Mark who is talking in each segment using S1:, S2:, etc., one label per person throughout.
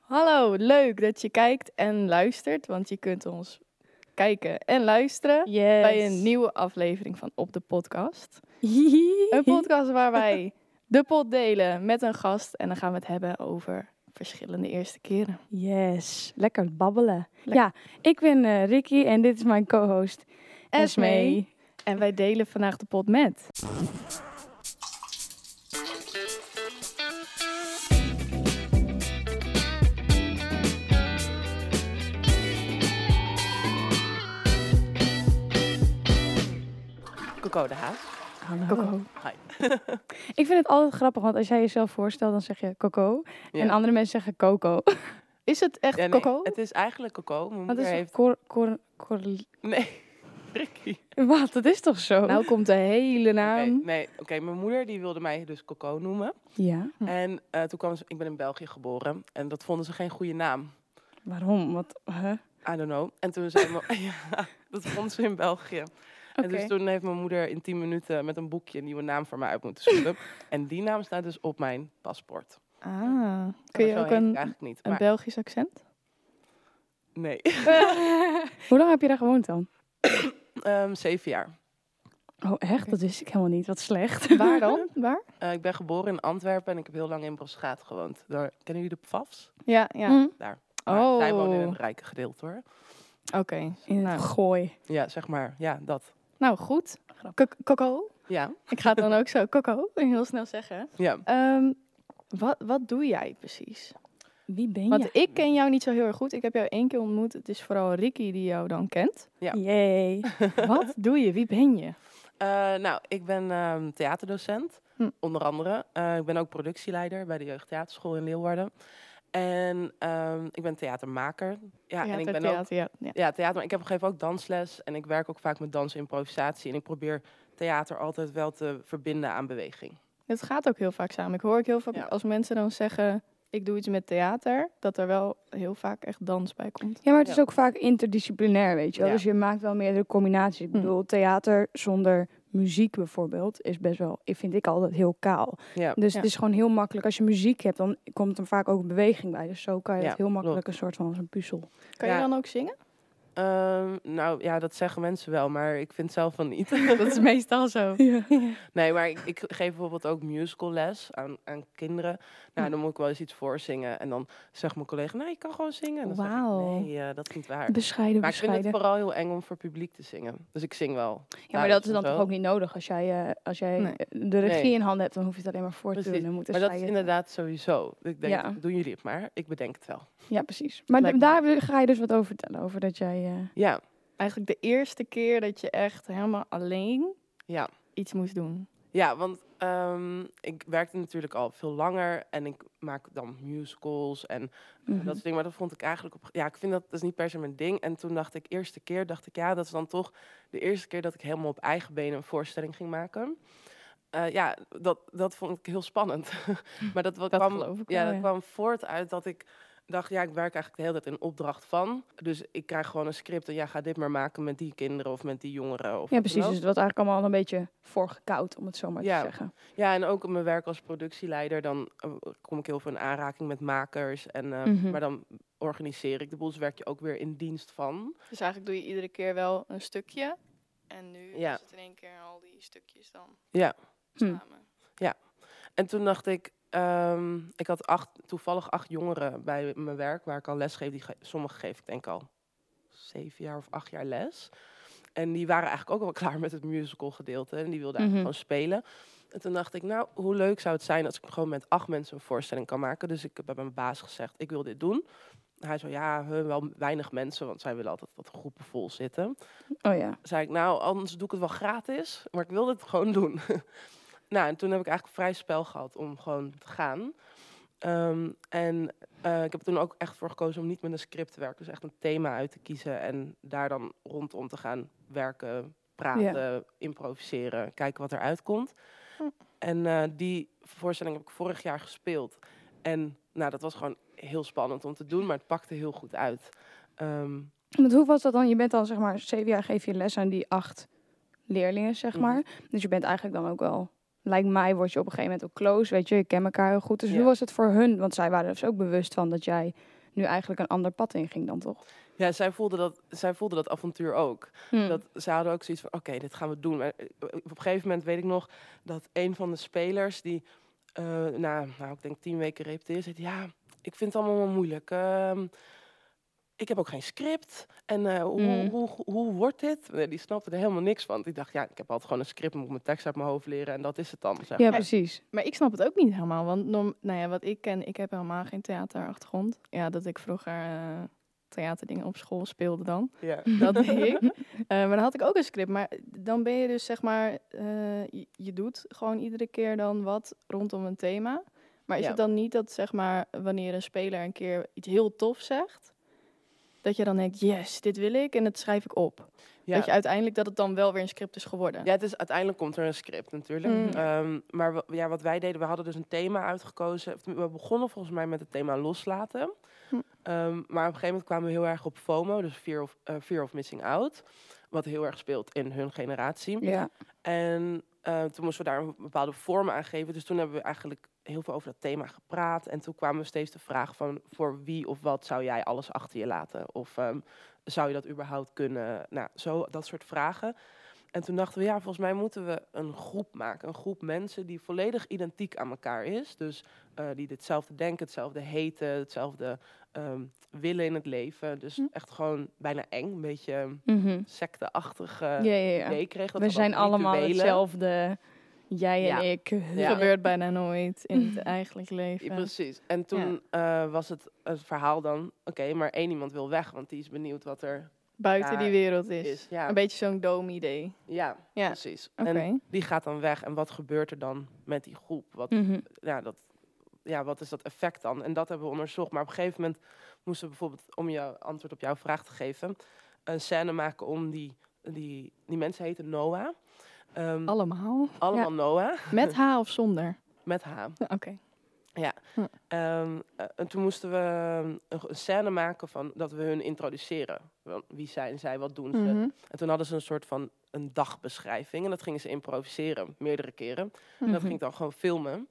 S1: Hallo, leuk dat je kijkt en luistert, want je kunt ons kijken en luisteren
S2: Yes.
S1: bij een nieuwe aflevering van Op de Podcast. Een podcast waar wij de pot delen met een gast en dan gaan we het hebben over verschillende eerste keren.
S2: Yes. Lekker babbelen.
S1: Lek-
S2: Ja, ik ben eh, Ricky en dit is mijn co-host Esme.
S1: En wij delen vandaag de pot met.
S3: Coco de Haas.
S2: Hallo.
S1: Coco.
S3: Hi.
S2: Ik vind het altijd grappig, want als jij jezelf voorstelt, dan zeg je Coco.
S3: Ja.
S2: En andere mensen zeggen Coco.
S1: Is het echt
S3: Ja, nee,
S1: Coco?
S3: Het is eigenlijk Coco. Mijn
S2: Wat
S3: moeder
S2: is
S3: heeft...
S2: Cor, cor, cor,
S3: Nee, Ricky.
S2: Wat, dat is toch zo?
S1: Nou komt de hele naam.
S3: Oké, nee, oké. mijn moeder die wilde mij dus Coco noemen.
S2: Ja,
S1: Hm.
S3: En eh, toen kwam ze... Ik ben in België geboren. En dat vonden ze geen goede naam.
S2: waarom? Wat, huh?
S3: I don't know. En toen zei mijn... ja, dat vonden ze in België.
S2: Oké.
S3: En dus toen heeft mijn moeder in tien minuten met een boekje een nieuwe naam voor mij uit moeten zoeken. en die naam staat dus op mijn paspoort.
S1: Ah, kun je
S3: Maar
S1: ook
S3: zo heet ik
S1: een,
S3: Eigenlijk niet.
S1: een
S3: maar
S1: Belgisch accent?
S3: nee.
S2: Hoe lang heb je daar gewoond dan?
S3: Ehm, zeven jaar.
S2: Oh, echt? Dat wist ik helemaal niet. Wat slecht.
S1: Waar dan? Waar?
S3: Eh, ik ben geboren in Antwerpen en ik heb heel lang in Broschaat gewoond. Daar, kennen jullie de PFAFs?
S1: Ja, ja.
S2: Hm?
S3: Mm. Maar
S1: Oh.
S3: Zij wonen in het rijke gedeelte hoor.
S1: Oké.
S2: In het
S1: Nou.
S2: gooi.
S3: Ja, zeg maar. Ja, dat.
S1: Nou, goed. Kok- Coco.
S3: Ja.
S1: Ik ga het dan ook zo Coco heel snel zeggen.
S3: ja.
S1: Ehm, wat, wat doe jij precies?
S2: Wie ben je?
S1: Want ik ken jou niet zo heel erg goed. Ik heb jou één keer ontmoet. Het is vooral Ricky die jou dan kent.
S3: Ja.
S2: Yay.
S1: Wat doe je? Wie ben je?
S3: Eh, nou, ik ben ehm, theaterdocent,
S1: Hm.
S3: onder andere. Eh, ik ben ook productieleider bij de Jeugdtheaterschool in Leeuwarden. En ehm, ik ben theatermaker. Ja, en ik ben ook
S1: theater, ja, ja.
S3: Ja, theater. Maar ik heb, geef ook dansles en ik werk ook vaak met dans en improvisatie. En ik probeer theater altijd wel te verbinden aan beweging.
S1: Het gaat ook heel vaak samen. Ik hoor ook heel vaak
S3: Ja.
S1: als mensen dan zeggen... ik doe iets met theater, dat er wel heel vaak echt dans bij komt.
S2: Ja, maar het is
S3: Ja.
S2: ook vaak interdisciplinair, weet je wel.
S3: Ja.
S2: Dus je maakt wel meerdere combinaties. Ik
S1: Hm.
S2: bedoel, theater zonder muziek bijvoorbeeld is best wel, ik vind ik altijd heel kaal.
S3: Ja,
S2: Dus
S1: Ja.
S2: het is gewoon heel makkelijk. Als je muziek hebt, dan komt er vaak ook beweging bij. Dus zo kan je
S3: Ja,
S2: het heel makkelijk een soort van als een puzzel.
S1: Kan je
S3: Ja.
S1: dan ook zingen?
S3: Ehm, nou ja, dat zeggen mensen wel, maar ik vind zelf van niet.
S1: Dat is meestal zo.
S2: Ja.
S3: Nee, maar ik, ik geef bijvoorbeeld ook musical les aan, aan kinderen. Nou,
S2: Hm.
S3: dan moet ik wel eens iets voorzingen. En dan zegt mijn collega, nou, je kan gewoon zingen. En dan zeg ik,
S1: Wauw.
S3: nee, eh, dat is niet waar.
S2: Bescheiden,
S3: Maar ik vind het
S2: bescheiden.
S3: vooral heel eng om voor publiek te zingen. Dus ik zing wel.
S2: Ja, maar dat is dan
S3: thuis en
S2: toch
S3: zo.
S2: ook niet nodig. Als jij, eh, als jij
S1: Nee.
S2: eh, de regie
S3: Nee.
S2: in handen hebt, dan hoef je het alleen maar voor te
S3: Precies.
S2: doen. Dan moet er
S3: Maar dat is
S2: zij- eh,
S3: inderdaad sowieso. Ik denk,
S2: Ja.
S3: doen jullie het maar. Ik bedenk het wel.
S2: Ja, precies. Maar
S1: Lijkt
S2: d-
S1: me.
S2: daar ga je dus wat over vertellen. Over dat jij... eh,
S3: Ja,
S1: Eigenlijk de eerste keer dat je echt helemaal alleen
S3: ja.
S1: iets moest doen.
S3: Ja, want ehm, ik werkte natuurlijk al veel langer. En ik maak dan musicals en
S2: mhm.
S3: Dat soort dingen. Maar dat vond ik eigenlijk op. Ja, ik vind dat, dat is niet per se mijn ding. En toen dacht ik, eerste keer dacht ik, ja, dat is dan toch de eerste keer dat ik helemaal op eigen benen een voorstelling ging maken. Eh, ja, dat, dat vond ik heel spannend. maar dat, wat
S1: Dat
S3: kwam,
S1: geloof ik
S3: ja,
S1: wel,
S3: dat
S1: ja.
S3: kwam voort uit dat ik dacht, ja, ik werk eigenlijk de hele tijd in opdracht van. Dus ik krijg gewoon een script en ja, ga dit maar maken met die kinderen of met die jongeren. Of
S2: Ja,
S3: wat dan
S2: precies. Dus
S3: ook.
S2: het was eigenlijk allemaal al een beetje voorgekoud, om het zo maar
S3: Ja.
S2: te zeggen.
S3: Ja, en ook op mijn werk als productieleider, dan eh, kom ik heel veel in aanraking met makers. En, eh,
S2: Mhm.
S3: Maar dan organiseer ik de boel, dus werk je ook weer in dienst van.
S1: Dus eigenlijk doe je iedere keer wel een stukje. En nu
S3: Ja.
S1: is het in één keer al die stukjes dan
S3: Ja.
S2: Hm.
S1: samen.
S3: En toen dacht ik, ehm, ik had acht, toevallig acht jongeren bij mijn werk waar ik al les geef. Die ge- sommige geef ik denk al zeven jaar of acht jaar les. En die waren eigenlijk ook wel klaar met het musical gedeelte. En die wilden eigenlijk
S2: Mhm.
S3: gewoon spelen. En toen dacht ik, nou, hoe leuk zou het zijn als ik gewoon met acht mensen een voorstelling kan maken. Dus ik heb bij mijn baas gezegd, ik wil dit doen. Hij zei, ja, huh, wel weinig mensen, want zij willen altijd wat groepen vol zitten
S2: Oh ja.
S3: zei ik, nou, anders doe ik het wel gratis, maar ik wil het gewoon doen. nou, en toen heb ik eigenlijk vrij spel gehad om gewoon te gaan. Ehm, en eh, ik heb er toen ook echt voor gekozen om niet met een script te werken, dus echt een thema uit te kiezen en daar dan rondom te gaan werken, praten, improviseren, kijken wat eruit komt.
S1: Hm.
S3: En eh, die voorstelling heb ik vorig jaar gespeeld. En nou, dat was gewoon heel spannend om te doen, maar het pakte heel goed uit. Ehm,
S2: Want hoe was dat dan? Je bent dan zeg maar zeven jaar geef je les aan die acht leerlingen, zeg
S3: Mhm.
S2: maar. Dus je bent eigenlijk dan ook wel... Lijkt mij word je op een gegeven moment ook close, weet je. Je kent elkaar heel goed. Dus
S3: Ja.
S2: hoe was het voor hun? Want zij waren dus ook bewust van dat jij nu eigenlijk een ander pad in ging dan toch?
S3: Ja, zij voelde dat, zij voelde dat avontuur ook.
S2: Hm.
S3: Dat, ze hadden ook zoiets van, oké, dit gaan we doen. Maar, eh, Op een gegeven moment weet ik nog dat een van de spelers die eh, na, nou, ik denk tien weken repeteerde, zei, ja, ik vind het allemaal wel moeilijk. Ehm, ik heb ook geen script. En eh, hoe,
S2: Mm.
S3: hoe, hoe, hoe wordt dit? Nee, die snapte er helemaal niks van. Die dacht, ja, ik heb altijd gewoon een script, moet ik mijn tekst uit mijn hoofd leren en dat is het dan. Zeg.
S2: ja,
S3: maar.
S2: precies.
S1: Maar ik snap het ook niet helemaal. Want norm, nou ja, wat ik ken, ik heb helemaal geen theaterachtergrond. Ja, dat ik vroeger eh, theaterdingen op school speelde dan.
S3: Ja.
S1: Dat deed ik. Eh, maar dan had ik ook een script. Maar dan ben je dus zeg maar, eh, je, je doet gewoon iedere keer dan wat rondom een thema. Maar is
S3: Ja.
S1: het dan niet dat zeg maar, wanneer een speler een keer iets heel tof zegt, dat je dan denkt, yes, dit wil ik en dat schrijf ik op.
S3: Ja.
S1: Dat je uiteindelijk dat het dan wel weer een script is geworden.
S3: Ja, het is, uiteindelijk komt er een script natuurlijk.
S2: Mm.
S3: Ehm, maar wa- ja, wat wij deden, we hadden dus een thema uitgekozen. Of tenmin- We begonnen volgens mij met het thema loslaten.
S1: Hm.
S3: Ehm, maar op een gegeven moment kwamen we heel erg op FOMO, dus Fear of, eh, fear of Missing Out. Wat heel erg speelt in hun generatie.
S2: Ja.
S3: En eh, toen moesten we daar een bepaalde vorm aan geven. Dus toen hebben we eigenlijk heel veel over dat thema gepraat. En toen kwamen we steeds de vraag van... voor wie of wat zou jij alles achter je laten? Of ehm, zou je dat überhaupt kunnen? Nou, zo, dat soort vragen. En toen dachten we, ja, volgens mij moeten we een groep maken. Een groep mensen die volledig identiek aan elkaar is. Dus eh, die hetzelfde denken, hetzelfde heten, hetzelfde ehm, willen in het leven. Dus
S1: Hm.
S3: echt gewoon bijna eng, een beetje
S2: Mhm.
S3: secteachtig
S2: ja,
S3: eh
S2: ja, ja.
S3: idee kreeg. Dat
S2: We
S3: ook
S2: zijn allemaal
S3: rituelen-
S2: hetzelfde. Jij
S3: Ja.
S2: en ik.
S1: Dat
S3: Ja.
S1: gebeurt bijna nooit in het eigenlijk leven.
S3: Ja, precies. En toen eh, was het, het verhaal dan, oké, maar één iemand wil weg, want die is benieuwd wat er
S1: Buiten
S3: Ja,
S1: die wereld is.
S3: is. Ja,
S1: Een beetje zo'n doom-idee.
S3: ja,
S1: Ja,
S3: precies.
S1: Oké.
S3: En die gaat dan weg. En wat gebeurt er dan met die groep? Wat,
S2: Mhm.
S3: ja, dat, ja, wat is dat effect dan? En dat hebben we onderzocht. Maar op een gegeven moment moesten we bijvoorbeeld, om je antwoord op jouw vraag te geven, een scène maken om die, die, die mensen heten Noah. Ehm,
S1: Allemaal.
S3: allemaal Noah,
S1: Met H of zonder?
S3: met H.
S1: Oké.
S3: Ehm, eh, en toen moesten we ehm, een, een scène maken van dat we hun introduceren. Wel, Wie zijn zij, wat doen ze?
S1: Mhm.
S3: En toen hadden ze een soort van een dagbeschrijving. En dat gingen ze improviseren, meerdere keren. En dat
S1: Mhm.
S3: ging ik dan gewoon filmen.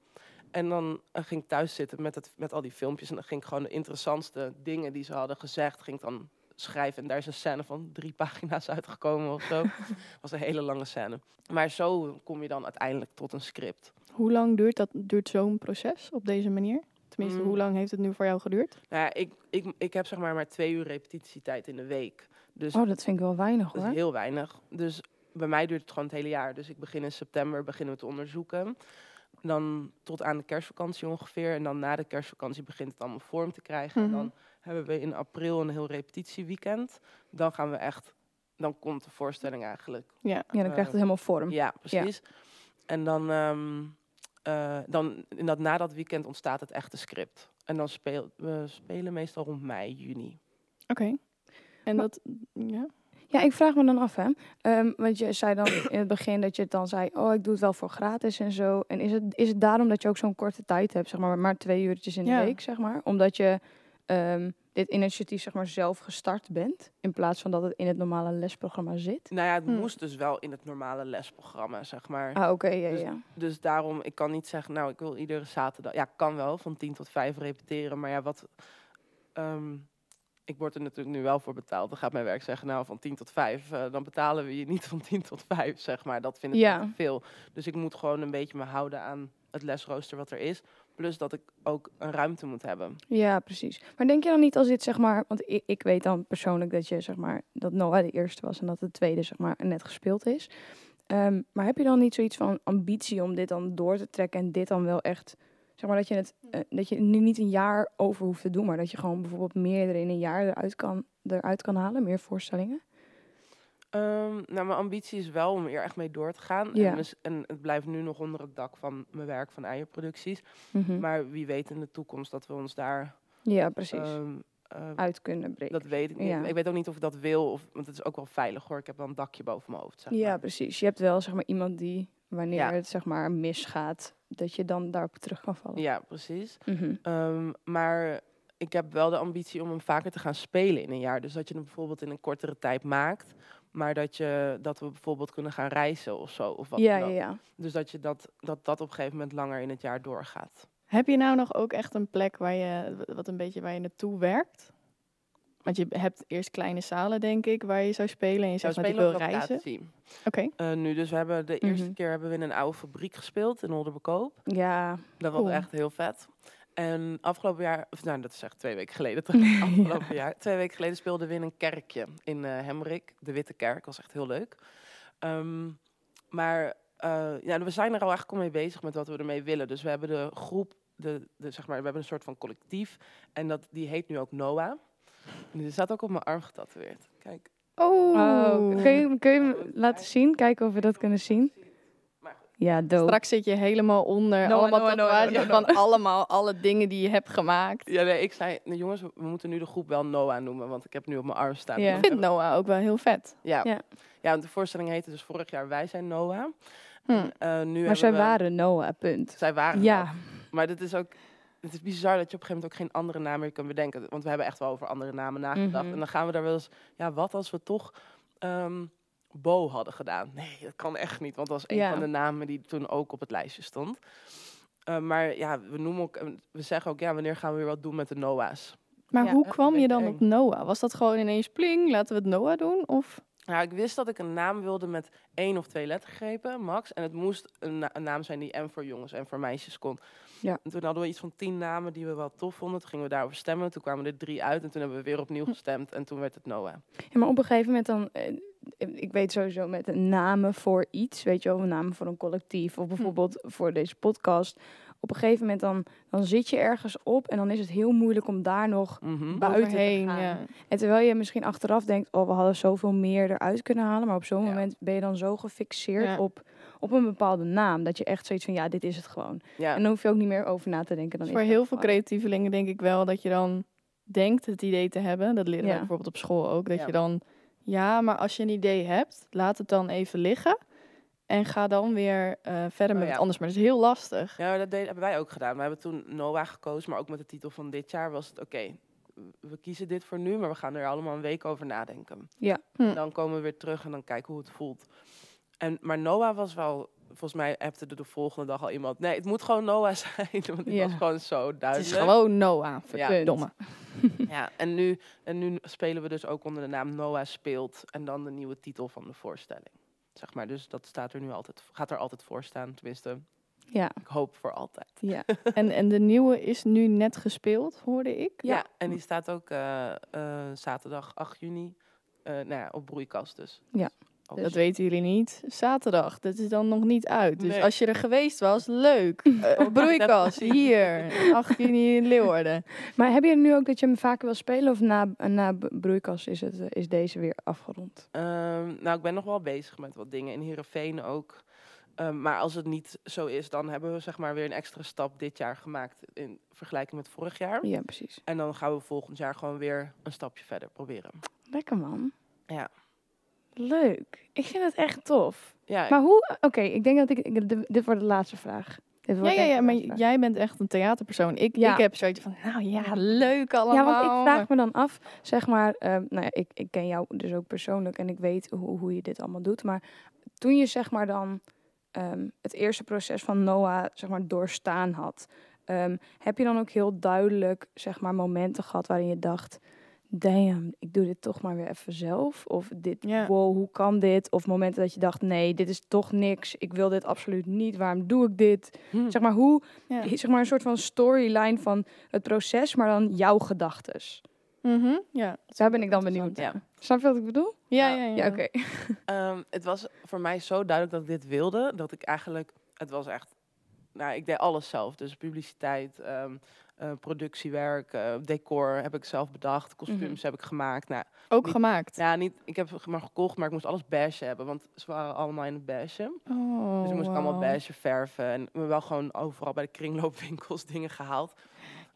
S3: En dan eh, ging ik thuis zitten met, het, met al die filmpjes. En dan ging ik gewoon de interessantste dingen die ze hadden gezegd, ging ik dan schrijven. En daar is een scène van drie pagina's uitgekomen of zo. was een hele lange scène. Maar zo kom je dan uiteindelijk tot een script.
S1: Hoe lang duurt, dat- duurt zo'n proces op deze manier? Tenminste,
S3: Mm.
S1: hoe lang heeft het nu voor jou geduurd?
S3: Nou ja, ik, ik, ik heb zeg maar maar twee uur repetitietijd in de week. Dus
S2: Oh, dat vind ik wel weinig
S3: dat is
S2: hoor.
S3: heel weinig. Dus bij mij duurt het gewoon het hele jaar. Dus ik begin in september, beginnen we te onderzoeken. Dan tot aan de kerstvakantie ongeveer. En dan na de kerstvakantie begint het allemaal vorm te krijgen.
S1: Mhm.
S3: En dan hebben we in april een heel repetitieweekend. Dan gaan we echt... Dan komt de voorstelling eigenlijk.
S1: Ja.
S2: Ja, dan krijgt het helemaal vorm.
S3: Ja, precies. En dan, ehm, eh, dan in dat, na dat weekend ontstaat het echte script. En dan speel, we spelen meestal rond mei, juni.
S1: Oké. En
S2: Maar-
S1: dat... Ja?
S2: Ja, ik vraag me dan af, hè. Ehm, want je zei dan in het begin dat je het dan zei... oh, ik doe het wel voor gratis en zo. En is het, is het daarom dat je ook zo'n korte tijd hebt, zeg maar... maar twee uurtjes in de
S1: Ja.
S2: week, zeg maar? Omdat je ehm, dit initiatief, zeg maar, zelf gestart bent... in plaats van dat het in het normale lesprogramma zit?
S3: Nou ja, het
S1: Hmm.
S3: moest dus wel in het normale lesprogramma, zeg maar.
S2: Hm. Ah, oké, ja,
S3: Dus-
S2: ja.
S3: Dus daarom, ik kan niet zeggen, nou, ik wil iedere zaterdag... Ja, kan wel, van tien tot vijf repeteren. Maar ja, wat... ehm, ik word er natuurlijk nu wel voor betaald. Dan gaat mijn werk zeggen, nou, van tien tot vijf... eh, dan betalen we je niet van tien tot vijf, zeg maar. Dat vind ik
S2: Ja.
S3: te veel. Dus ik moet gewoon een beetje me houden aan het lesrooster wat er is. Plus dat ik ook een ruimte moet hebben.
S2: Ja, precies. Maar denk je dan niet als dit, zeg maar... want ik, ik weet dan persoonlijk dat je, zeg maar... dat Noah de eerste was en dat de tweede, zeg maar, net gespeeld is. Ehm, maar heb je dan niet zoiets van ambitie om dit dan door te trekken... en dit dan wel echt... zeg maar dat je het, eh, dat je nu niet een jaar over hoeft te doen... maar dat je gewoon bijvoorbeeld meerdere in een jaar eruit kan, eruit kan halen? Meer voorstellingen?
S3: Ehm, nou, mijn ambitie is wel om hier echt mee door te gaan.
S2: Ja.
S3: En, dus- en het blijft nu nog onder het dak van mijn werk van eierproducties.
S2: Mhm.
S3: Maar wie weet in de toekomst dat we ons daar...
S2: ja, precies.
S3: ehm, eh,
S2: Uit kunnen breken.
S3: Dat weet ik niet.
S2: Ja.
S3: Ik weet ook niet of ik dat wil, of, want het is ook wel veilig hoor. Ik heb wel een dakje boven mijn hoofd. Zeg
S2: ja,
S3: maar.
S2: precies. Je hebt wel, zeg maar, iemand die... wanneer
S3: Ja.
S2: het, zeg maar, misgaat... dat je dan daarop terug kan vallen.
S3: ja, precies.
S2: Mhm.
S3: Ehm, maar ik heb wel de ambitie om hem vaker te gaan spelen in een jaar. Dus dat je hem bijvoorbeeld in een kortere tijd maakt, maar dat, je, dat we bijvoorbeeld kunnen gaan reizen of zo. Of wat
S2: Ja,
S3: dan
S2: ja,
S3: ook.
S2: ja.
S3: Dus dat, je dat, dat dat op een gegeven moment langer in het jaar doorgaat.
S1: Heb je nou nog ook echt een plek waar je, wat een beetje waar je naartoe werkt? Want je hebt eerst kleine zalen, denk ik, waar je zou spelen en je
S3: Zou
S1: zegt, want ik
S3: spelen
S1: wil
S3: op
S1: reizen. Oké,
S3: locatie. Eh, nu, dus we hebben de
S2: Mhm.
S3: eerste keer hebben we in een oude fabriek gespeeld in Olderbekoop.
S2: Ja,
S3: Dat was
S1: Cool.
S3: echt heel vet. En afgelopen jaar, of nou dat is echt twee weken geleden terug. Afgelopen jaar, twee weken geleden speelden we in een kerkje in eh Hemrik, de Witte Kerk. was echt heel leuk. Ehm, maar eh, ja, we zijn er al eigenlijk al mee bezig met wat we ermee willen. Dus we hebben de groep, de, de, zeg maar, we hebben een soort van collectief. En dat, die heet nu ook Noah. En die staat ook op mijn arm getatoeëerd. Kijk.
S2: Oh,
S1: Oh.
S2: kun, je, kun je hem laten zien? Kijken of we dat kunnen zien. Ja, dope.
S1: Straks zit je helemaal onder
S3: Noah,
S1: allemaal
S3: Noah, Noah,
S1: tatoeages
S3: Noah,
S1: van allemaal alle dingen die je hebt gemaakt.
S3: Ja, nee, ik zei, "Nee, jongens, we we moeten nu de groep wel Noah noemen, want ik heb nu op mijn arm staan.
S2: Ja.
S1: Ik vind Noah ook wel heel vet.
S3: Ja.
S2: Ja.
S3: ja. want de voorstelling heette dus vorig jaar Wij zijn Noah.
S1: Hm.
S3: Eh, nu
S2: Maar
S3: hebben
S2: zij
S3: we-
S2: waren Noah, punt.
S3: Zij waren.
S2: Ja,
S3: dat. Maar dit is ook. Het is bizar dat je op een gegeven moment ook geen andere naam meer kan bedenken. Want we hebben echt wel over andere namen nagedacht.
S2: Mhm.
S3: En dan gaan we daar wel eens. Ja, wat als we toch. ehm, Bo hadden gedaan. Nee, dat kan echt niet. Want dat was een
S2: Ja.
S3: van de namen die toen ook op het lijstje stond. Eh, maar ja, we noemen ook. We zeggen ook, ja, wanneer gaan we weer wat doen met de Noah's?
S1: Maar
S2: Ja,
S1: hoe
S3: echt
S1: kwam
S3: een
S1: je
S3: beetje
S1: dan
S3: eng.
S1: op Noah? Was dat gewoon ineens pling, laten we het Noah doen? Of
S3: Nou, ik wist dat ik een naam wilde met één of twee lettergrepen, max. En het moest een, na- een naam zijn die en voor jongens en voor meisjes kon.
S2: Ja.
S3: En toen hadden we iets van tien namen die we wel tof vonden. Toen gingen we daarover stemmen. Toen kwamen er drie uit en toen hebben we weer opnieuw
S2: Hm.
S3: gestemd. En toen werd het Noah.
S2: Ja, maar op een gegeven moment dan, eh, ik weet sowieso met een namen voor iets, weet je wel, een namen voor een collectief of bijvoorbeeld
S1: Hm.
S2: voor deze podcast. Op een gegeven moment dan, dan zit je ergens op en dan is het heel moeilijk om daar nog.
S3: Mhm.
S2: Ba- Buiten te
S1: overheen?
S2: gaan.
S1: Ja.
S2: En terwijl je misschien achteraf denkt, oh we hadden zoveel meer eruit kunnen halen, maar op zo'n
S1: Ja.
S2: moment ben je dan zo gefixeerd
S1: Ja.
S2: op, op een bepaalde naam dat je echt zoiets van, ja dit is het gewoon.
S3: Ja.
S2: En dan hoef je ook niet meer over na te denken. Dan
S1: Dus
S2: is
S1: voor
S2: dat
S1: heel veel
S2: gewoon.
S1: creatievelingen denk ik wel dat je dan denkt het idee te hebben. Dat leren
S2: Ja.
S1: wij bijvoorbeeld op school ook. Dat
S3: Ja.
S1: je dan, ja, maar als je een idee hebt, laat het dan even liggen. En ga dan weer eh, verder
S3: Oh
S1: met
S3: ja.
S1: het anders. Maar dat is heel lastig.
S3: Ja, maar dat deden, hebben wij ook gedaan. We hebben toen Noah gekozen, maar ook met de titel van dit jaar was het oké. we kiezen dit voor nu, maar we gaan er allemaal een week over nadenken.
S2: Ja.
S1: Hm.
S3: Dan komen we weer terug en dan kijken hoe het voelt. En, maar Noah was wel, volgens mij appte er de volgende dag al iemand. Nee, het moet gewoon Noah zijn, want die
S2: Ja.
S3: was gewoon zo
S1: Het is
S3: duidelijk.
S1: gewoon Noah,
S3: Ja.
S1: verdomme.
S3: Ja, en nu, en nu spelen we dus ook onder de naam Noah speelt en dan de nieuwe titel van de voorstelling. Zeg maar, dus dat staat er nu altijd, gaat er altijd voor staan. Tenminste,
S2: Ja,
S3: ik hoop voor altijd.
S2: ja.
S1: En, en de nieuwe is nu net gespeeld, hoorde ik.
S3: Ja, en die staat ook eh, eh, zaterdag 8 juni eh, nou ja, op broeikast dus.
S2: Ja,
S3: Ook
S1: Dat weten jullie niet. Zaterdag, dat is dan nog niet uit. Dus
S3: Nee.
S1: als je er geweest was, leuk. Eh, op broeikas,
S3: even
S1: hier. 8 juni in Leeuwarden.
S2: Maar heb je nu ook dat je hem vaker wil spelen of na, na broeikas is, het, eh, is deze weer afgerond?
S3: Ehm, nou, ik ben nog wel bezig met wat dingen in Heerenveen ook. Ehm, maar als het niet zo is, dan hebben we zeg maar weer een extra stap dit jaar gemaakt in vergelijking met vorig jaar.
S2: Ja, precies.
S3: En dan gaan we volgend jaar gewoon weer een stapje verder proberen.
S2: Lekker man.
S3: Ja.
S2: Leuk. Ik vind het echt tof.
S3: Ja,
S2: Maar hoe... Oké, ik denk dat ik... ik- dit- Dit wordt de laatste vraag. Dit
S1: Ja, ja,
S2: wordt denk
S1: ja,
S2: ik de
S1: maar
S2: laatste vraag.
S1: jij bent echt een theaterpersoon. Ik,
S2: Ja.
S1: ik heb zoiets van, nou ja, leuk allemaal.
S2: Ja, want ik vraag me dan af, zeg maar, ehm, nou ja, ik, ik ken jou dus ook persoonlijk en ik weet hoe, hoe je dit allemaal doet. Maar toen je zeg maar dan ehm, het eerste proces van Noah zeg maar doorstaan had, ehm, heb je dan ook heel duidelijk zeg maar momenten gehad waarin je dacht, damn, ik doe dit toch maar weer even zelf? Of dit,
S1: Ja.
S2: wow, hoe kan dit? Of momenten dat je dacht, nee, dit is toch niks, ik wil dit absoluut niet, waarom doe ik dit?
S3: Hm.
S2: Zeg maar, hoe,
S1: Ja.
S2: zeg maar een soort van storyline van het proces, maar dan jouw gedachtes.
S1: Mhm, ja.
S2: Daar ben ik dan benieuwd
S3: Ja.
S2: naar. Snap je wat ik bedoel?
S1: Ja,
S3: Nou,
S1: ja, ja.
S2: Ja, oké.
S3: Ehm, het was voor mij zo duidelijk dat ik dit wilde, dat ik eigenlijk, het was echt, nou, ik deed alles zelf. Dus publiciteit, ehm, eh, productiewerk, eh, decor heb ik zelf bedacht, kostuums
S2: Mhm.
S3: heb ik gemaakt. Nou,
S1: Ook
S3: Niet-
S1: gemaakt.
S3: ja, niet, ik heb het maar gekocht, maar ik moest alles bashen hebben, want ze waren allemaal in het bashen.
S1: Oh,
S3: Dus ik moest ik allemaal
S1: wauw.
S3: bashen, verven en we wel gewoon overal bij de kringloopwinkels dingen gehaald.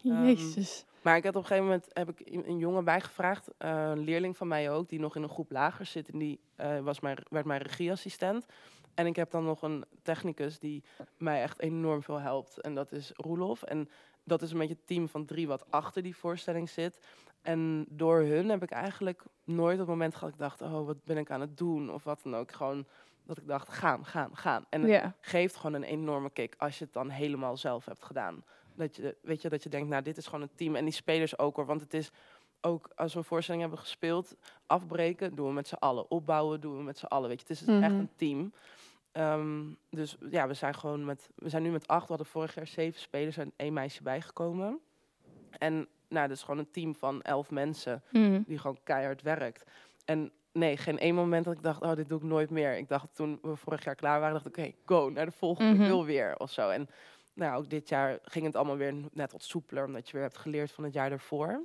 S3: Ehm,
S1: Jezus.
S3: Maar ik had op een gegeven moment heb ik i- een jongen bijgevraagd, eh, een leerling van mij ook, die nog in een groep lager zit. En die eh, was mijn, werd mijn regieassistent. En ik heb dan nog een technicus die mij echt enorm veel helpt. En dat is Roelof. En dat is een beetje het team van drie wat achter die voorstelling zit. En door hun heb ik eigenlijk nooit op het moment gehad dat ik dacht, oh, wat ben ik aan het doen? Of wat dan ook. Gewoon dat ik dacht, gaan, gaan, gaan. En
S2: Ja.
S3: geeft gewoon een enorme kick als je het dan helemaal zelf hebt gedaan. Dat je, weet je, dat je denkt, nou, dit is gewoon een team. En die spelers ook hoor. Want het is ook, als we een voorstelling hebben gespeeld, afbreken doen we met z'n allen. Opbouwen doen we met z'n allen. Weet je, het is dus echt
S1: Mhm.
S3: een team. Ehm, dus ja, we zijn gewoon met, we zijn nu met acht. We hadden vorig jaar zeven spelers en één meisje bijgekomen. En nou, dat is gewoon een team van elf mensen
S2: Mm.
S3: die gewoon keihard werkt. En nee, geen één moment dat ik dacht, oh, dit doe ik nooit meer. Ik dacht toen we vorig jaar klaar waren, dacht ik, oké, go, naar de volgende,
S2: Mhm.
S3: ik wil weer, of zo. En nou, ook dit jaar ging het allemaal weer net wat soepeler, omdat je weer hebt geleerd van het jaar daarvoor.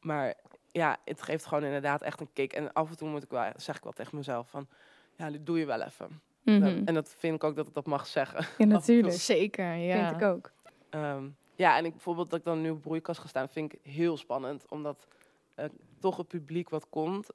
S3: Maar ja, het geeft gewoon inderdaad echt een kick. En af en toe moet ik wel, zeg ik wel tegen mezelf van, ja, dit doe je wel even.
S2: Mhm.
S3: En dat vind ik ook dat ik dat mag zeggen.
S2: Ja, natuurlijk.
S3: dus
S1: Zeker, ja.
S2: Vind ik ook.
S3: Ehm, ja, en ik, bijvoorbeeld dat ik dan nu op broeikas ga staan, vind ik heel spannend. Omdat eh, toch het publiek wat komt,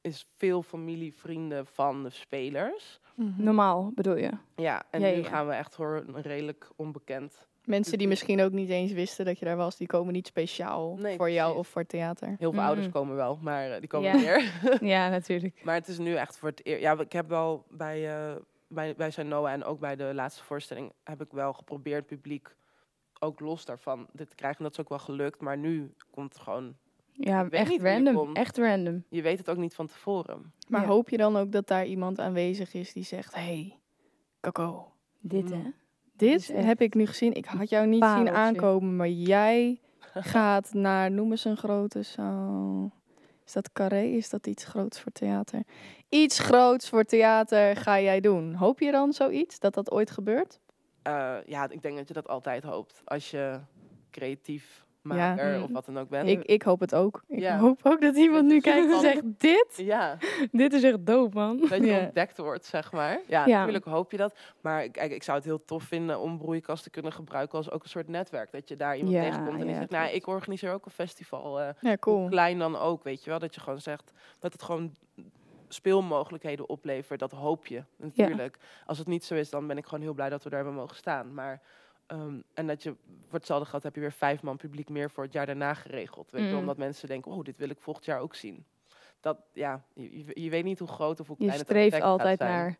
S3: is veel familie, vrienden van de spelers.
S1: Mhm.
S2: Normaal bedoel je?
S3: Ja, en
S2: Ja, ja,
S3: nu
S2: ja.
S3: gaan we echt voor een redelijk onbekend.
S1: Mensen die misschien ook niet eens wisten dat je daar was, die komen niet speciaal
S3: Nee,
S1: voor jou
S3: precies.
S1: of voor theater.
S3: Heel veel
S2: Mhm.
S3: ouders komen wel, maar eh, die komen
S2: Ja.
S3: niet meer.
S2: ja, natuurlijk.
S3: Maar het is nu echt voor het eerst. Ja, ik heb wel bij, eh, bij, bij zijn Noah en ook bij de laatste voorstelling heb ik wel geprobeerd het publiek ook los daarvan dit te krijgen. En dat is ook wel gelukt. Maar nu komt het gewoon.
S2: Ja,
S3: weet niet
S2: echt
S3: wie er
S2: random.
S3: komt.
S2: Echt random.
S3: Je weet het ook niet van tevoren.
S1: Maar
S2: Ja.
S1: hoop je dan ook dat daar iemand aanwezig is die zegt, hey, Coco,
S2: Dit,
S3: Mm.
S2: hè?
S1: dit
S2: is echt
S1: heb ik nu gezien. Ik had jou niet zien
S2: pareltje."
S1: aankomen, maar jij gaat naar, noem eens een grote zaal. Is dat carré? Is dat iets groots voor theater? Iets groots voor theater ga jij doen. Hoop je dan zoiets, dat dat ooit gebeurt?
S3: Eh, ja, ik denk dat je dat altijd hoopt. Als je creatief maker
S2: Mm.
S3: of wat dan ook bent.
S1: Ik, ik hoop het ook. Ik
S3: Ja.
S1: hoop ook dat iemand
S3: Dat
S1: nu
S3: je zo
S1: kijkt en
S3: van-
S1: zegt, dit?
S3: Ja,
S2: Dit is echt dope, man.
S3: dat je
S1: Ja.
S3: ontdekt wordt, zeg maar. Ja,
S2: Ja.
S3: natuurlijk hoop je dat. Maar kijk, ik zou het heel tof vinden om broeikast te kunnen gebruiken als ook een soort netwerk. Dat je daar iemand
S2: Ja,
S3: tegenkomt en die
S2: ja,
S3: zegt, nou,
S2: klopt.
S3: ik organiseer ook een festival. eh,
S1: Ja,
S3: Hoe
S1: cool.
S3: klein dan ook, weet je wel. Dat je gewoon zegt dat het gewoon speelmogelijkheden oplevert. Dat hoop je natuurlijk. Als het niet zo is, dan ben ik gewoon heel blij dat we daar hebben mogen staan. Maar ehm, en dat je voor hetzelfde geld heb je weer vijf man publiek meer voor het jaar daarna geregeld. Weet je, wel,
S2: Mm.
S3: omdat mensen denken, oh, dit wil ik volgend jaar ook zien. Dat ja, je, je- je weet niet hoe groot of hoe
S2: Je
S3: klein het
S2: streeft
S3: effect gaat
S2: altijd
S3: zijn.
S2: naar,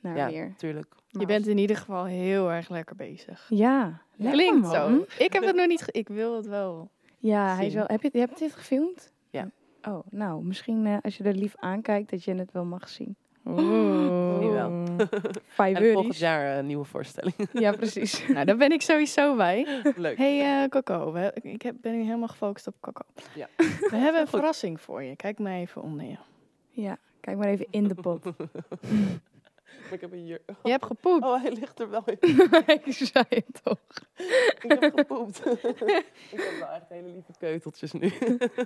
S2: naar
S3: Ja,
S2: meer.
S3: Tuurlijk.
S1: Je
S2: Maar
S1: bent
S2: als-
S1: in ieder geval heel erg lekker bezig.
S2: Ja. lekker,
S1: Klinkt
S2: man.
S1: zo. Ik heb het nog niet... ge- ik wil het wel.
S2: Ja, hij is
S1: zien.
S2: wel... Heb je, je hebt dit gefilmd?
S3: Ja.
S2: Oh, nou, misschien eh, als je er lief aankijkt, dat je het wel mag zien.
S3: die wel.
S2: Five
S3: En volgend jaar eh, nieuwe voorstelling.
S2: Ja, precies.
S1: Nou, daar ben ik sowieso bij.
S3: Leuk.
S1: hey, eh, Coco. we- ik heb, ben nu helemaal gefocust op Coco.
S3: Ja.
S1: We hebben een verrassing voor je. Kijk mij even onder je.
S2: Ja, kijk maar even in de pop.
S3: Maar ik heb een jurk.
S1: Je hebt gepoept.
S3: Oh, hij ligt er wel in.
S1: Oh.
S2: ik zei het toch.
S3: Ik heb gepoept. ik heb wel echt hele lieve keuteltjes nu.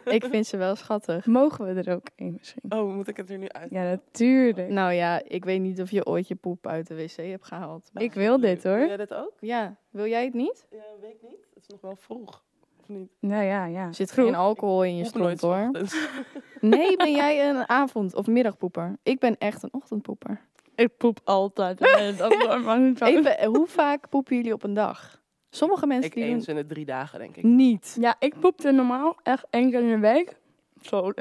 S1: Ik vind ze wel schattig.
S2: Mogen we er ook één misschien?
S3: Oh, moet ik het er nu uit?
S2: Ja, natuurlijk.
S1: Nou ja, ik weet niet of je ooit je poep uit de wc hebt gehaald.
S2: ik wil dit
S3: Wil
S2: hoor.
S3: jij dit ook?
S1: Ja, wil jij het niet?
S3: Ja, weet ik niet. Het is nog wel vroeg. Of niet?
S2: Nou ja, ja.
S1: Er zit geen alcohol in je
S3: Of
S1: stront hoor.
S3: ochtends.
S1: Nee, ben jij een avond- of middagpoeper? Ik ben echt een ochtendpoeper.
S2: Ik poep altijd. Eh, dat mag niet van.
S1: Even, eh, hoe vaak poepen jullie op een dag? Sommige mensen
S3: Ik
S1: die
S3: eens
S1: doen
S3: in de drie dagen, denk
S2: Mm.
S3: ik.
S1: niet.
S2: Ja, ik poepte normaal echt één keer in de week. Zo,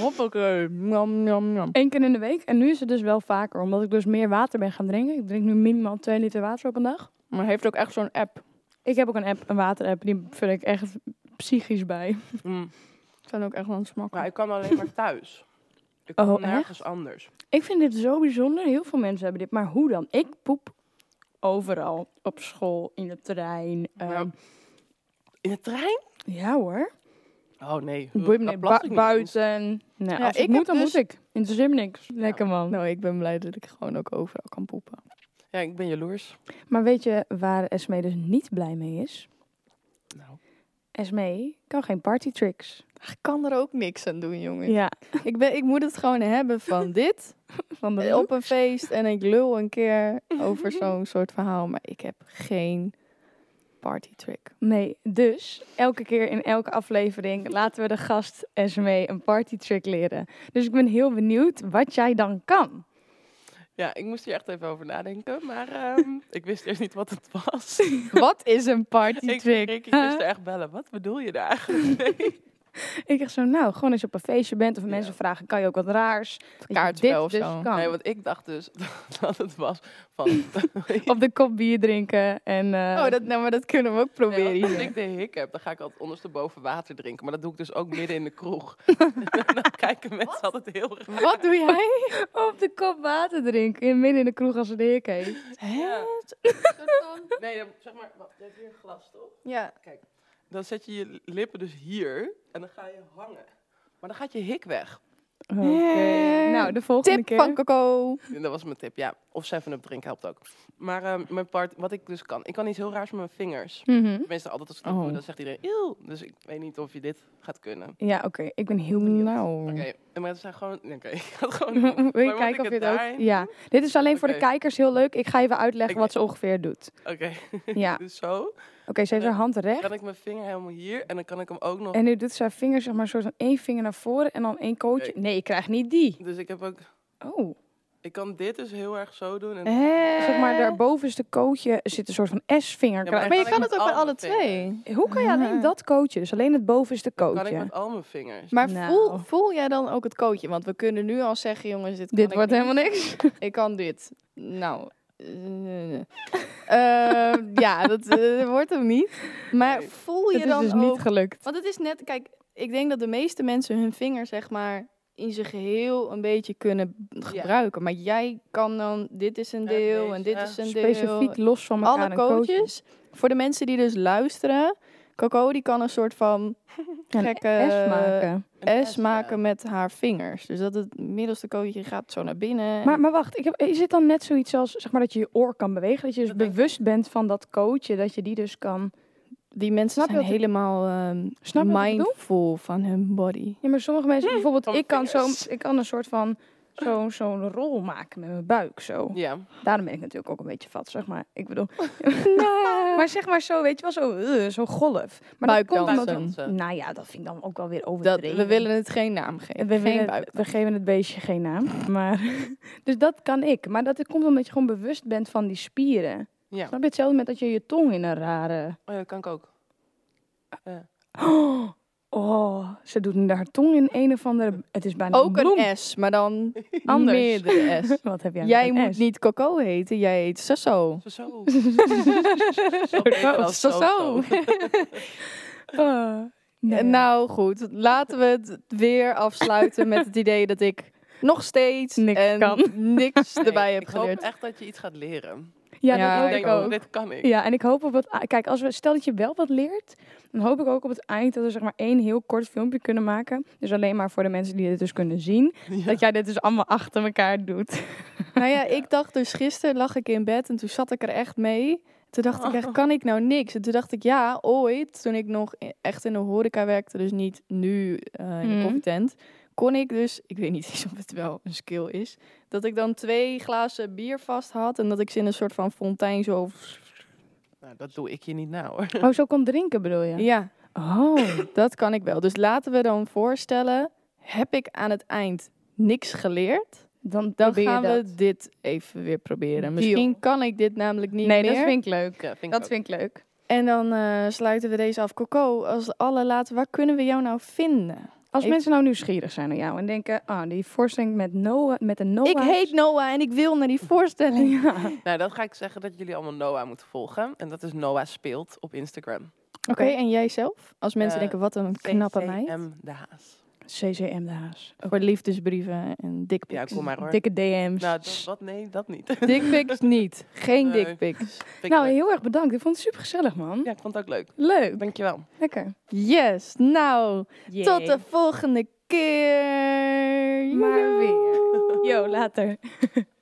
S1: Hoppakee. Nam, nam, nam.
S2: één keer in de week. En nu is het dus wel vaker, omdat ik dus meer water ben gaan drinken. Ik drink nu minimaal 2 liter water op een dag.
S1: Maar heeft ook echt zo'n app.
S2: Ik heb ook een app, een waterapp, die vind ik echt psychisch bij.
S1: Ik kan ook echt wel een smak.
S3: Mm. Maar ik kan alleen maar thuis. Ik
S2: Oh,
S3: kan nergens anders.
S2: Ik vind dit zo bijzonder. Heel veel mensen hebben dit. Maar hoe dan? Ik poep overal. Op school, in de trein. ehm,
S3: Ja. In de trein?
S2: ja hoor.
S3: Oh nee.
S2: Boeit me
S3: Dat
S2: niet.
S3: plas ik
S2: Bu-
S3: niet
S2: buiten. Nee,
S1: Ja,
S2: als
S1: ik heb
S2: ik moet, dan
S1: dus-
S2: moet ik. Interesseert me niks. Lekker man.
S1: Nou, ik ben blij dat ik gewoon ook overal kan poepen.
S3: eens. Ja, ik ben jaloers.
S2: Maar weet je waar Esme dus niet blij mee is?
S3: Nou.
S2: Esme kan geen partytricks.
S1: Ik kan er ook niks aan doen, jongen.
S2: Ja.
S1: Ik, ben, ik moet het gewoon hebben van dit.
S2: Van de
S1: Op een feest en ik lul een keer over zo'n soort verhaal. Maar ik heb geen partytrick.
S2: Nee, dus elke keer in elke aflevering laten we de gast Esme een partytrick leren. Dus ik ben heel benieuwd wat jij dan kan.
S3: Ja, ik moest hier echt even over nadenken. Maar ehm, ik wist eerst niet wat het was.
S1: Wat is een
S3: ik
S1: partytrick?
S3: ik moest er echt bellen. Wat bedoel je daar eigenlijk mee?
S2: Ik dacht zo, nou, gewoon als je op een feestje bent of mensen vragen, kan je ook wat raars? Dat je
S1: kaartspel
S2: dit
S1: of
S2: dus
S1: zo.
S2: kan.
S3: Nee, want ik dacht dus dat het was van...
S2: Op de kop bier drinken en... eh,
S1: Oh, dat, nou, maar dat kunnen we ook
S3: Nee,
S1: proberen
S3: want als
S1: hier.
S3: ik de hik heb, dan ga ik altijd ondersteboven water drinken. Maar dat doe ik dus ook midden in de kroeg. dan kijken mensen altijd heel raar.
S1: Wat doe jij?
S2: Op de kop water drinken, in, midden in de kroeg als ze de hik heeft.
S1: Hè?
S3: Nee, dan, zeg maar, wat, je hebt hier een glas, toch?
S1: Ja.
S3: Dan zet je je lippen dus hier en dan ga je hangen. Maar dan gaat je hik weg.
S2: Oké.
S1: Yeah.
S2: Nou, de volgende
S1: Tip
S2: keer.
S1: van Coco.
S3: En dat was mijn tip, ja. Of 7-up drinken helpt ook. Maar eh, mijn part, wat ik dus kan. Ik kan iets heel raars met mijn vingers.
S2: Mhm.
S3: Tenminste, altijd als ik dat doe,
S1: Oh.
S3: dan zegt iedereen, eeuw. Dus ik weet niet of je dit gaat kunnen. Oké,
S2: Ja, oké. Ik ben heel benieuwd.
S1: Nou.
S3: maar het zijn gewoon... nee, Oké, ik ga het gewoon doen.
S2: Oh. Wil je
S3: Maar moet ik
S2: kijken of je
S3: het
S2: het ook...
S3: daarin
S2: Ja. Dit is alleen voor de
S3: Oké.
S2: kijkers heel leuk. Ik ga even uitleggen
S3: Oké.
S2: wat ze ongeveer doet.
S3: Oké,
S2: Ja. Oké,
S3: dus zo.
S2: ze heeft haar hand recht.
S3: kan ik mijn vinger helemaal hier en dan kan ik hem ook nog...
S2: En nu doet ze haar vinger, zeg maar, soort van één vinger naar voren en dan één kootje. Nee, ik krijg niet die.
S3: Dus ik heb ook...
S2: Oh.
S3: Ik kan dit dus heel erg zo doen. En,
S1: Hè?
S2: Zeg maar, daarbovenste kootje zit een soort van S-vinger.
S3: Ja, maar
S1: Maar je
S3: Kan
S1: kan
S3: ik
S1: het ook
S3: met
S1: met
S3: alle
S1: alle
S3: vingers?
S1: twee.
S2: Hoe kan je
S1: Ah.
S2: alleen dat kootje? Dus alleen het bovenste
S3: dan kan ik
S2: kootje.
S3: met al mijn vingers.
S1: Maar
S2: Nou.
S1: voel, voel jij dan ook het kootje? Want we kunnen nu al zeggen, jongens, dit, kan
S2: Dit
S1: ik
S2: wordt
S1: niet.
S2: helemaal niks.
S1: Ik kan dit. Nou. eh, eh, ja, dat eh, wordt hem niet. Maar
S3: Nee.
S1: voel je
S2: Het is
S1: dan
S2: dus
S1: ook...
S2: niet gelukt.
S1: Want het is net, kijk, ik denk dat de meeste mensen hun vinger, zeg maar, in zijn geheel een beetje kunnen gebruiken. Maar jij kan dan, dit is een
S3: Ja,
S1: deel
S3: deze,
S1: en dit
S3: ja.
S1: is een deel.
S2: Specifiek los van elkaar
S1: Alle
S2: een kootje.
S1: coaches, voor de mensen die dus luisteren, Coco die kan een soort van
S2: Een
S1: gekke
S2: S maken.
S3: Een
S1: S
S3: ja.
S1: maken met haar vingers. Dus dat het middelste kootje gaat zo naar binnen.
S2: Maar, maar wacht, ik heb, is het dan net zoiets als zeg maar, dat je je oor kan bewegen? Dat je dus
S3: Dat denk ik.
S2: bewust bent van dat kootje, dat je die dus kan...
S1: die mensen
S2: Snap je
S1: zijn
S2: wat ik-
S1: helemaal ehm,
S2: Snap je wat ik bedoel?
S1: mindful van hun body.
S2: Ja, maar sommige
S1: Hm,
S2: mensen, bijvoorbeeld,
S3: van
S2: ik kan, zo,
S3: vingers.
S2: ik kan een soort van zo- zo'n rol maken met mijn buik, zo.
S3: Ja.
S2: Daarom ben ik natuurlijk ook een beetje vat, zeg maar. Ik bedoel... maar zeg maar zo, weet je wel, zo, eh, zo'n golf. Maar dat komt
S1: Buikdansen.
S2: omdat-
S3: Buikdansen.
S2: Nou ja, dat vind ik dan ook wel weer
S1: Dat,
S2: overdreven.
S1: we willen het geen naam geven.
S2: We,
S1: geen
S2: willen-
S1: buik.
S2: we geven het beestje geen naam. Maar, dus dat kan ik. Maar dat komt omdat je gewoon bewust bent van die spieren.
S3: Ja.
S2: Snap je hetzelfde met dat je je tong in een rare...
S3: Oh ja, dat kan ik ook.
S2: Oh, ze doet daar haar tong in een of andere... Het is bijna
S1: Ook
S2: een bloem.
S1: een S, maar dan
S2: Anders.
S1: meerdere S.
S2: Wat heb jij met
S1: Jij
S2: een
S1: moet
S2: S?
S1: niet Coco heten, jij heet Sasso.
S3: Zo, zo.
S2: Zo, zo, zo. Ah, nou
S1: En
S2: ja.
S1: Nou goed, laten we het weer afsluiten met het idee dat ik nog steeds
S2: Niks
S1: en
S2: kan.
S1: niks erbij heb
S3: ik hoop
S1: geleerd.
S3: echt dat je iets gaat leren.
S2: ja,
S1: ja,
S2: dat
S1: ik
S2: hoop ik
S3: denk,
S2: ook.
S3: oh, dit kan ik.
S2: Ja, en ik hoop op het... Kijk, als we, stel dat je wel wat leert, dan hoop ik ook op het eind dat we zeg maar één heel kort filmpje kunnen maken. Dus alleen maar voor de mensen die dit dus kunnen zien. Dat jij dit dus allemaal achter elkaar doet.
S1: Nou ja, ik dacht dus gisteren lag ik in bed en toen zat ik er echt mee. Toen dacht ik
S2: Oh.
S1: echt, kan ik nou niks? En toen dacht ik, ja, ooit, toen ik nog i- echt in de horeca werkte, dus niet nu eh, in de
S2: Mhm.
S1: koffietent, kon ik dus, ik weet niet eens of het wel een skill is, dat ik dan twee glazen bier vast had en dat ik ze in een soort van fontein zo...
S3: Nou, dat doe ik je niet nou hoor.
S2: Oh, zo kon drinken bedoel je?
S1: ja.
S2: Oh,
S1: Dat kan ik wel. Dus laten we dan voorstellen: heb ik aan het eind niks geleerd?
S2: dan,
S1: Dan
S2: probeer je
S1: gaan
S2: dat.
S1: we dit even weer proberen.
S2: Deal.
S1: Misschien kan ik dit namelijk niet
S2: Nee,
S1: meer.
S2: dat vind ik leuk.
S3: Ja, vind ik
S2: Dat
S3: ook.
S2: vind ik leuk.
S1: En dan eh, sluiten we deze af. Coco, als allerlaatste, waar kunnen we jou nou vinden?
S2: Als
S1: Ik-
S2: mensen nou nieuwsgierig zijn naar jou en denken, ah, die voorstelling met Noah, met de Noah.
S1: Ik heet Noah en ik wil naar die voorstelling.
S2: Ja.
S3: Nou, dan ga ik zeggen dat jullie allemaal Noah moeten volgen. En dat is Noah Speelt op Instagram.
S1: Oké, en jijzelf? Als mensen
S3: Eh,
S1: denken, wat een knappe meid.
S3: M de Haas.
S2: CCM de Haas.
S1: Voor liefdesbrieven en
S3: Ja,
S1: dickpics.
S3: kom maar hoor.
S2: Dikke DM's.
S3: Nou, dat, wat? Nee, dat niet.
S1: dickpics niet. Geen
S3: Nee.
S1: dickpics.
S3: Vind ik
S2: nou,
S3: leuk.
S2: heel erg bedankt. Ik vond het super gezellig, man.
S3: Ja, ik vond het ook leuk.
S2: Leuk.
S3: Dankjewel.
S2: Lekker.
S1: Yes, nou, tot de volgende keer.
S2: Maar
S1: Joejoe.
S2: weer. Yo, later.